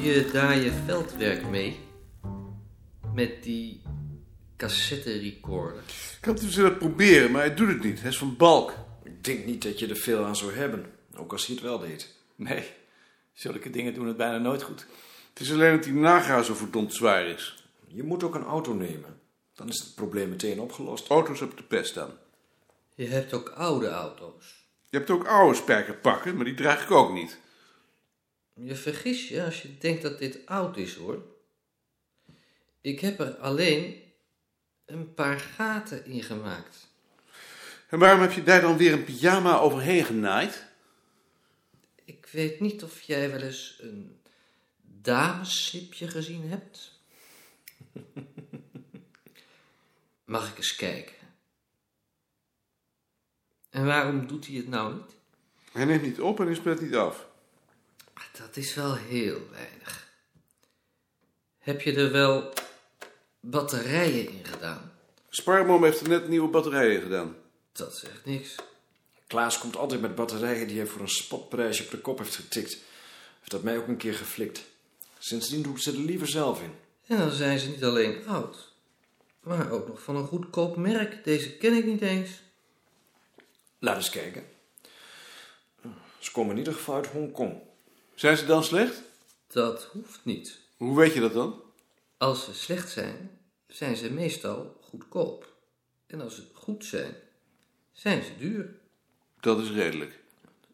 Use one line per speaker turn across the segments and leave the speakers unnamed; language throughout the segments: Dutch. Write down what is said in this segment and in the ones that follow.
je veldwerk mee. Met die cassetterecorder.
Ik had dus dat proberen, maar hij doet het niet. Hij is van balk.
Ik denk niet dat je er veel aan zou hebben, ook als hij het wel deed.
Nee, zulke dingen doen het bijna nooit goed.
Het is alleen dat die naga zo verdomd zwaar is.
Je moet ook een auto nemen. Dan is het probleem meteen opgelost.
Auto's heb ik de pest aan.
Je hebt ook oude auto's.
Je hebt ook oude spijkerpakken, maar die draag ik ook niet.
Je vergis je als je denkt dat dit oud is hoor. Ik heb er alleen een paar gaten in gemaakt.
En waarom heb je daar dan weer een pyjama overheen genaaid?
Ik weet niet of jij wel eens een damesslipje gezien hebt. Mag ik eens kijken? En waarom doet hij het nou niet?
Hij neemt niet op en hij speelt niet af.
Ah, Dat is wel heel weinig. Heb je er wel batterijen in gedaan?
Sparmom heeft er net nieuwe batterijen gedaan.
Dat zegt niks.
Klaas komt altijd met batterijen die hij voor een spotprijsje op de kop heeft getikt. Heeft dat mij ook een keer geflikt. Sindsdien doe ik ze er liever zelf in.
En dan zijn ze niet alleen oud, maar ook nog van een goedkoop merk. Deze ken ik niet eens.
Laat eens kijken. Ze komen in ieder geval uit Hongkong.
Zijn ze dan slecht?
Dat hoeft niet.
Hoe weet je dat dan?
Als ze slecht zijn, zijn ze meestal goedkoop. En als ze goed zijn, zijn ze duur.
Dat is redelijk.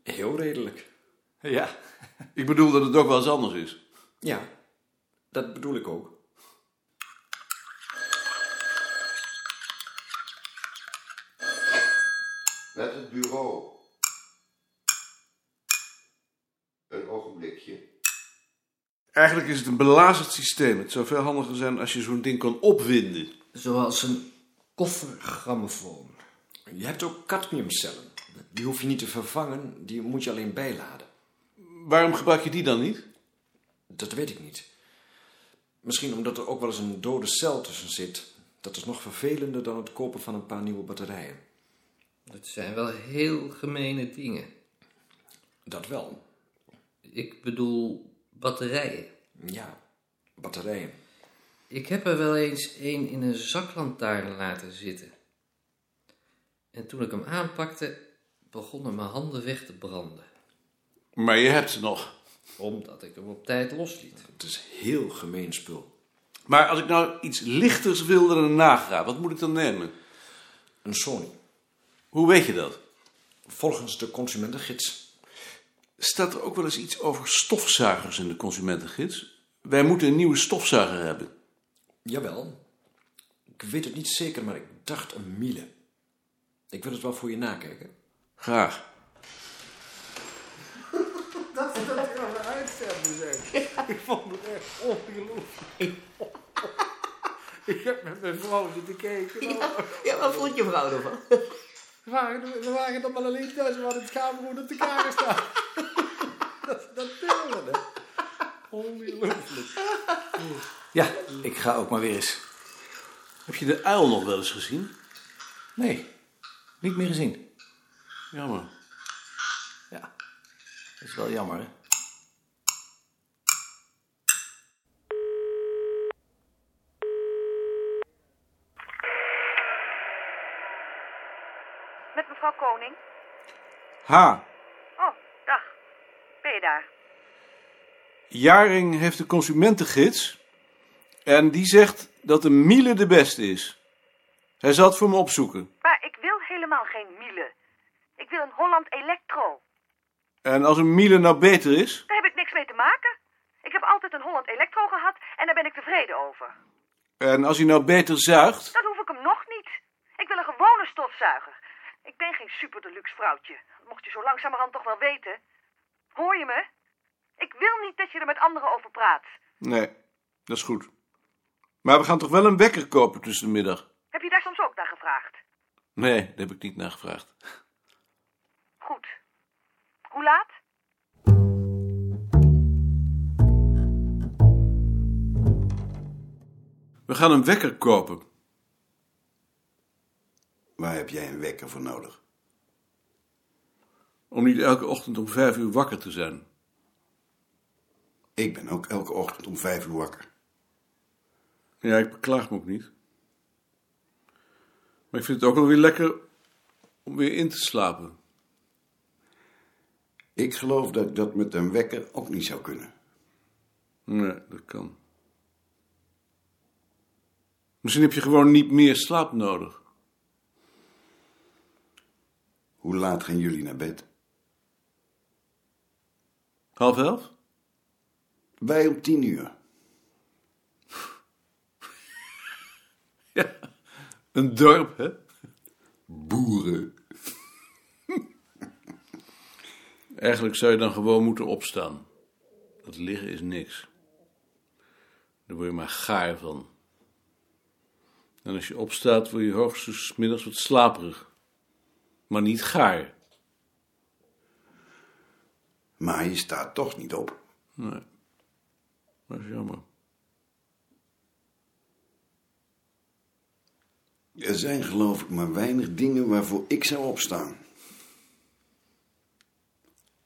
Heel redelijk.
Ja,
Ik bedoel dat het ook wel eens anders is.
Ja, dat bedoel ik ook.
Met het bureau. Een ogenblikje.
Eigenlijk is het een belazerd systeem. Het zou veel handiger zijn als je zo'n ding kan opwinden.
Zoals een koffergrammofoon.
Je hebt ook cadmiumcellen. Die hoef je niet te vervangen, die moet je alleen bijladen.
Waarom gebruik je die dan niet?
Dat weet ik niet. Misschien omdat er ook wel eens een dode cel tussen zit. Dat is nog vervelender dan het kopen van een paar nieuwe batterijen.
Het zijn wel heel gemene dingen.
Dat wel.
Ik bedoel batterijen.
Ja, batterijen.
Ik heb er wel eens een in een zaklantaarn laten zitten. En toen ik hem aanpakte, begonnen mijn handen weg te branden.
Maar je hebt ze nog.
Omdat ik hem op tijd losliet.
Het is heel gemeen spul.
Maar als ik nou iets lichters wil dan een nagra, wat moet ik dan nemen?
Een Sony.
Hoe weet je dat?
Volgens de consumentengids.
Staat er ook wel eens iets over stofzuigers in de consumentengids? Wij moeten een nieuwe stofzuiger hebben.
Jawel. Ik weet het niet zeker, maar ik dacht een Miele. Ik wil het wel voor je nakijken.
Graag.
Ja, ja wat vond je vrouw ervan?
We waren dan maar alleen thuis, we hadden het kamerroer op de kamer staan. dat dat tilde. Ongelooflijk.
ja, ik ga ook maar weer eens.
Heb je de uil nog wel eens gezien?
Nee, niet meer gezien.
Jammer.
Ja, dat is wel jammer, hè?
Met mevrouw Koning.
Ha,
Oh, dag. Ben je daar?
Jaring heeft de consumentengids. En die zegt dat een Miele de beste is. Hij zal het voor me opzoeken.
Maar ik wil helemaal geen Miele. Ik wil een Holland Electro.
En als een Miele nou beter is?
Daar heb ik niks mee te maken. Ik heb altijd een Holland Electro gehad en daar ben ik tevreden over.
En als hij nou beter zuigt?
Dat hoef ik hem nog niet. Ik wil een gewone stofzuiger. Ik ben geen super deluxe vrouwtje. Dat mocht je zo langzamerhand toch wel weten. Hoor je me? Ik wil niet dat je er met anderen over praat.
Nee, dat is goed. Maar we gaan toch wel een wekker kopen tussen de middag?
Heb je daar soms ook naar gevraagd?
Nee, daar heb ik niet naar gevraagd.
Goed. Hoe laat?
We gaan een wekker kopen.
Waar heb jij een wekker voor nodig?
Om niet elke ochtend om vijf uur wakker te zijn.
Ik ben ook elke ochtend om vijf uur wakker.
Ja, ik beklaag me ook niet. Maar ik vind het ook wel weer lekker om weer in te slapen.
Ik geloof dat ik dat met een wekker ook niet zou kunnen.
Nee, dat kan. Misschien heb je gewoon niet meer slaap nodig.
Hoe laat gaan jullie naar bed?
Half elf?
Wij om tien uur.
Een dorp, hè?
Boeren.
Eigenlijk zou je dan gewoon moeten opstaan. Dat liggen is niks. Daar word je maar gaar van. En als je opstaat, word je hoogstens 's middags wat slaperig. Maar niet gaar.
Maar je staat toch niet op.
Nee. Dat is jammer.
Er zijn geloof ik maar weinig dingen waarvoor ik zou opstaan.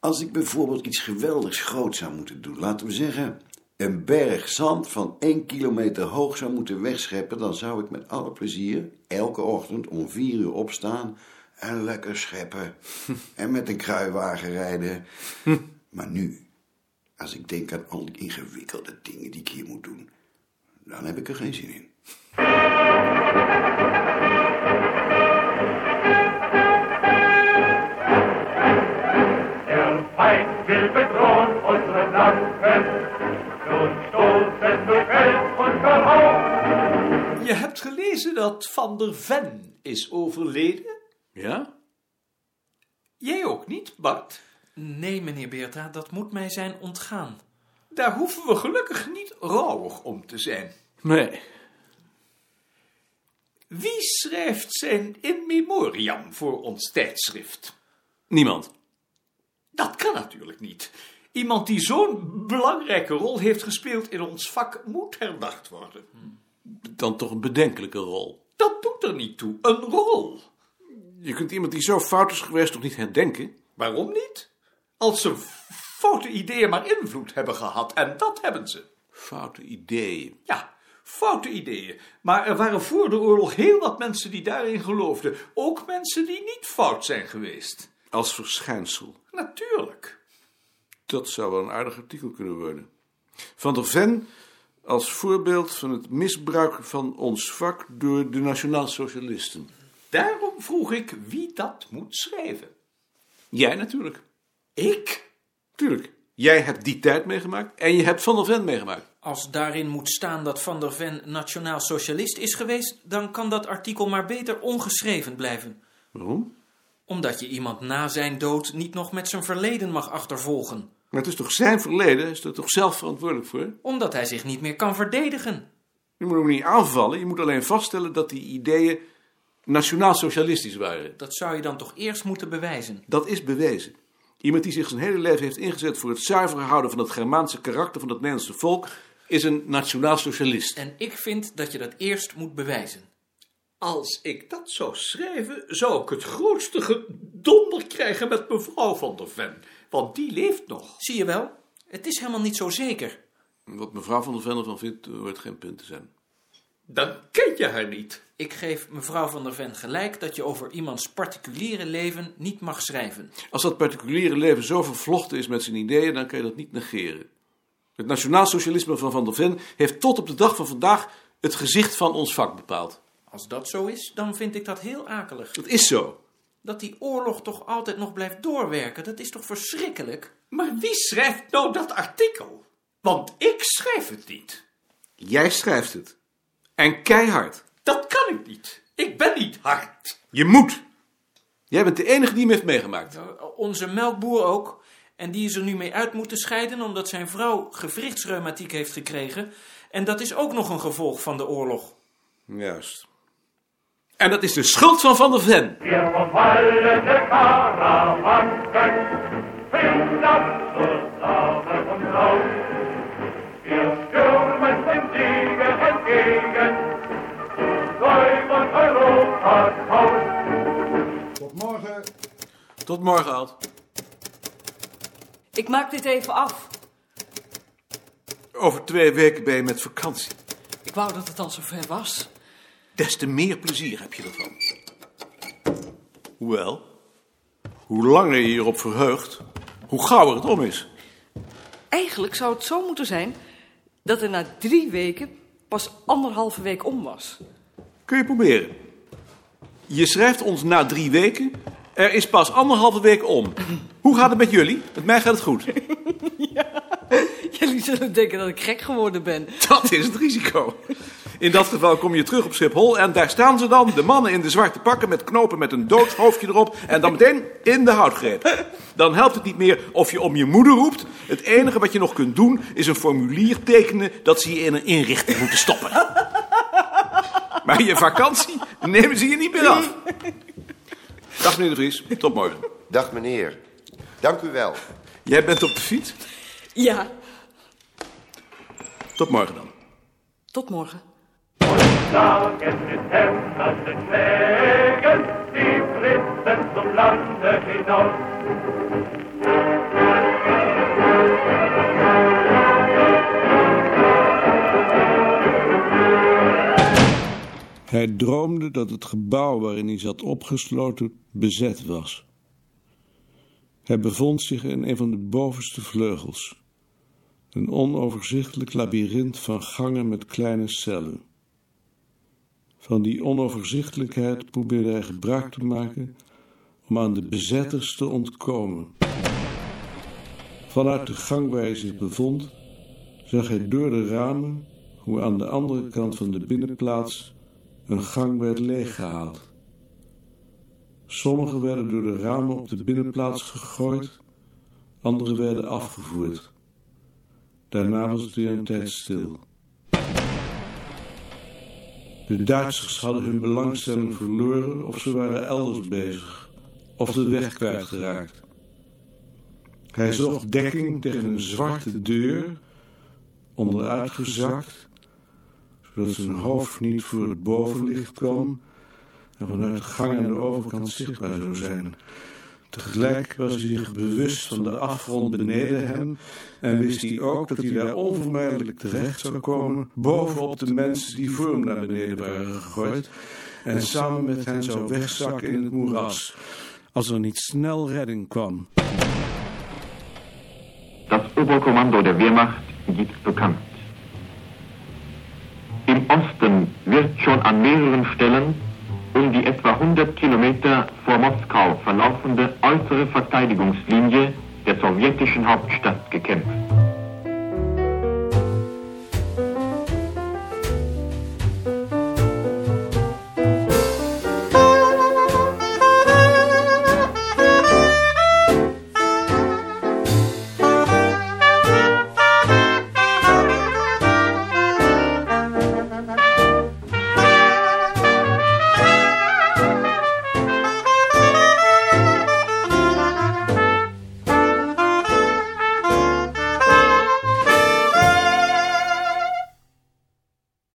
Als ik bijvoorbeeld iets geweldigs groots zou moeten doen, laten we zeggen... een berg zand van één kilometer hoog zou moeten wegscheppen... dan zou ik met alle plezier elke ochtend om vier uur opstaan... en lekker scheppen en met een kruiwagen rijden. Maar nu, als ik denk aan al die ingewikkelde dingen die ik hier moet doen... dan heb ik er geen zin in.
Der Feind will bedrohen unsere Flanken. Nun stoßen durch Fels und Verhauen.
Je hebt gelezen dat Van der Ven is overleden?
Ja?
Jij ook niet, Bart?
Nee, meneer Beerta, dat moet mij zijn ontgaan.
Daar hoeven we gelukkig niet rouwig om te zijn.
Nee.
Wie schrijft zijn in memoriam voor ons tijdschrift?
Niemand.
Dat kan natuurlijk niet. Iemand die zo'n belangrijke rol heeft gespeeld in ons vak moet herdacht worden.
Dan toch een bedenkelijke rol.
Dat doet er niet toe. Een rol.
Je kunt iemand die zo fout is geweest toch niet herdenken?
Waarom niet? Als ze foute ideeën maar invloed hebben gehad, en dat hebben ze.
Foute ideeën.
Ja, foute ideeën. Maar er waren voor de oorlog heel wat mensen die daarin geloofden. Ook mensen die niet fout zijn geweest.
Als verschijnsel.
Natuurlijk.
Dat zou wel een aardig artikel kunnen worden. Van der Ven als voorbeeld van het misbruik van ons vak door de nationaalsocialisten.
Daarom vroeg ik wie dat moet schrijven.
Jij natuurlijk.
Ik?
Tuurlijk. Jij hebt die tijd meegemaakt en je hebt Van der Ven meegemaakt.
Als daarin moet staan dat Van der Ven nationaal socialist is geweest, dan kan dat artikel maar beter ongeschreven blijven.
Waarom?
Omdat je iemand na zijn dood niet nog met zijn verleden mag achtervolgen.
Maar het is toch zijn verleden? Hij Is er toch zelf verantwoordelijk voor?
Omdat hij zich niet meer kan verdedigen.
Je moet hem niet aanvallen. Je moet alleen vaststellen dat die ideeën nationaal-socialistisch waren.
Dat zou je dan toch eerst moeten bewijzen.
Dat is bewezen. Iemand die zich zijn hele leven heeft ingezet voor het zuiver houden van het Germaanse karakter van het Nederlandse volk, is een nationaal-socialist.
En ik vind dat je dat eerst moet bewijzen.
Als ik dat zou schrijven, zou ik het grootste gedonder krijgen met mevrouw van der Ven. Want die leeft nog.
Zie je wel? Het is helemaal niet zo zeker.
Wat mevrouw van der Ven ervan vindt, eh, hoort geen punt te zijn.
Dan ken je haar niet.
Ik geef mevrouw van der Ven gelijk dat je over iemands particuliere leven niet mag schrijven.
Als dat particuliere leven zo vervlochten is met zijn ideeën, dan kan je dat niet negeren. Het nationaal-socialisme van Van der Ven heeft tot op de dag van vandaag het gezicht van ons vak bepaald.
Als dat zo is, dan vind ik dat heel akelig.
Dat is zo.
Dat die oorlog toch altijd nog blijft doorwerken, dat is toch verschrikkelijk?
Maar wie schrijft nou dat artikel? Want ik schrijf het niet.
Jij schrijft het. En keihard.
Dat kan ik niet. Ik ben niet hard.
Je moet. Jij bent de enige die hem heeft meegemaakt.
Eh, Onze melkboer ook. En die is er nu mee uit moeten scheiden omdat zijn vrouw gewrichtsreumatiek heeft gekregen. En dat is ook nog een gevolg van de oorlog.
Juist. En dat is de schuld van Van der Ven.
Wir verfallende Karawanken. Finden das zusammen und laut. Wir stürmen dem Sieger entgegen. Säubern Europas Haus.
Tot morgen.
Tot morgen, Alt.
Ik maak dit even af.
Over twee weken ben je met vakantie.
Ik wou dat het al zover was.
Des te meer plezier heb je ervan. Hoewel, hoe langer je hierop verheugt, hoe gauwer het om is.
Eigenlijk zou het zo moeten zijn dat er na drie weken pas anderhalve week om was.
Kun je proberen. Je schrijft ons na drie weken. Er is pas anderhalve week om. Hoe gaat het met jullie? Met mij gaat het goed.
Jullie zullen denken dat ik gek geworden ben.
Dat is het risico. In dat geval kom je terug op Schiphol en daar staan ze dan, de mannen in de zwarte pakken met knopen met een doodshoofdje erop en dan meteen in de houtgreep. Dan helpt het niet meer of je om je moeder roept. Het enige wat je nog kunt doen is een formulier tekenen dat ze je in een inrichting moeten stoppen. Maar je vakantie nemen ze je niet meer af. Dag meneer de Vries, tot morgen.
Dag meneer, dank u wel.
Jij bent op de fiets?
Ja,
Tot morgen dan.
tot morgen.
Sagen
er
mit hämmernden Schlägen die Briten zum Lande hinaus.
Hij droomde dat het gebouw waarin hij zat opgesloten bezet was. Hij bevond zich in een van de bovenste vleugels. Een onoverzichtelijk labyrint van gangen met kleine cellen. Van die onoverzichtelijkheid probeerde hij gebruik te maken om aan de bezetters te ontkomen. Vanuit de gang waar hij zich bevond, zag hij door de ramen hoe aan de andere kant van de binnenplaats een gang werd leeggehaald. Sommigen werden door de ramen op de binnenplaats gegooid, anderen werden afgevoerd. Daarna was het weer een tijd stil. De Duitsers hadden hun belangstelling verloren of ze waren elders bezig, of de weg kwijtgeraakt. Hij zocht dekking tegen een zwarte deur, onderuitgezakt, zodat zijn hoofd niet voor het bovenlicht kwam en vanuit de gang aan de overkant zichtbaar zou zijn. Tegelijk was hij zich bewust van de afgrond beneden hem en wist hij ook dat hij daar onvermijdelijk terecht zou komen, bovenop de mensen die voor hem naar beneden waren gegooid en samen met hen zou wegzakken in het moeras, als er niet snel redding kwam.
Das Oberkommando der Wehrmacht gibt bekannt. Im Osten wird schon an mehreren Stellen um die etwa 100 Kilometer vor Moskau verlaufende äußere Verteidigungslinie der sowjetischen Hauptstadt gekämpft.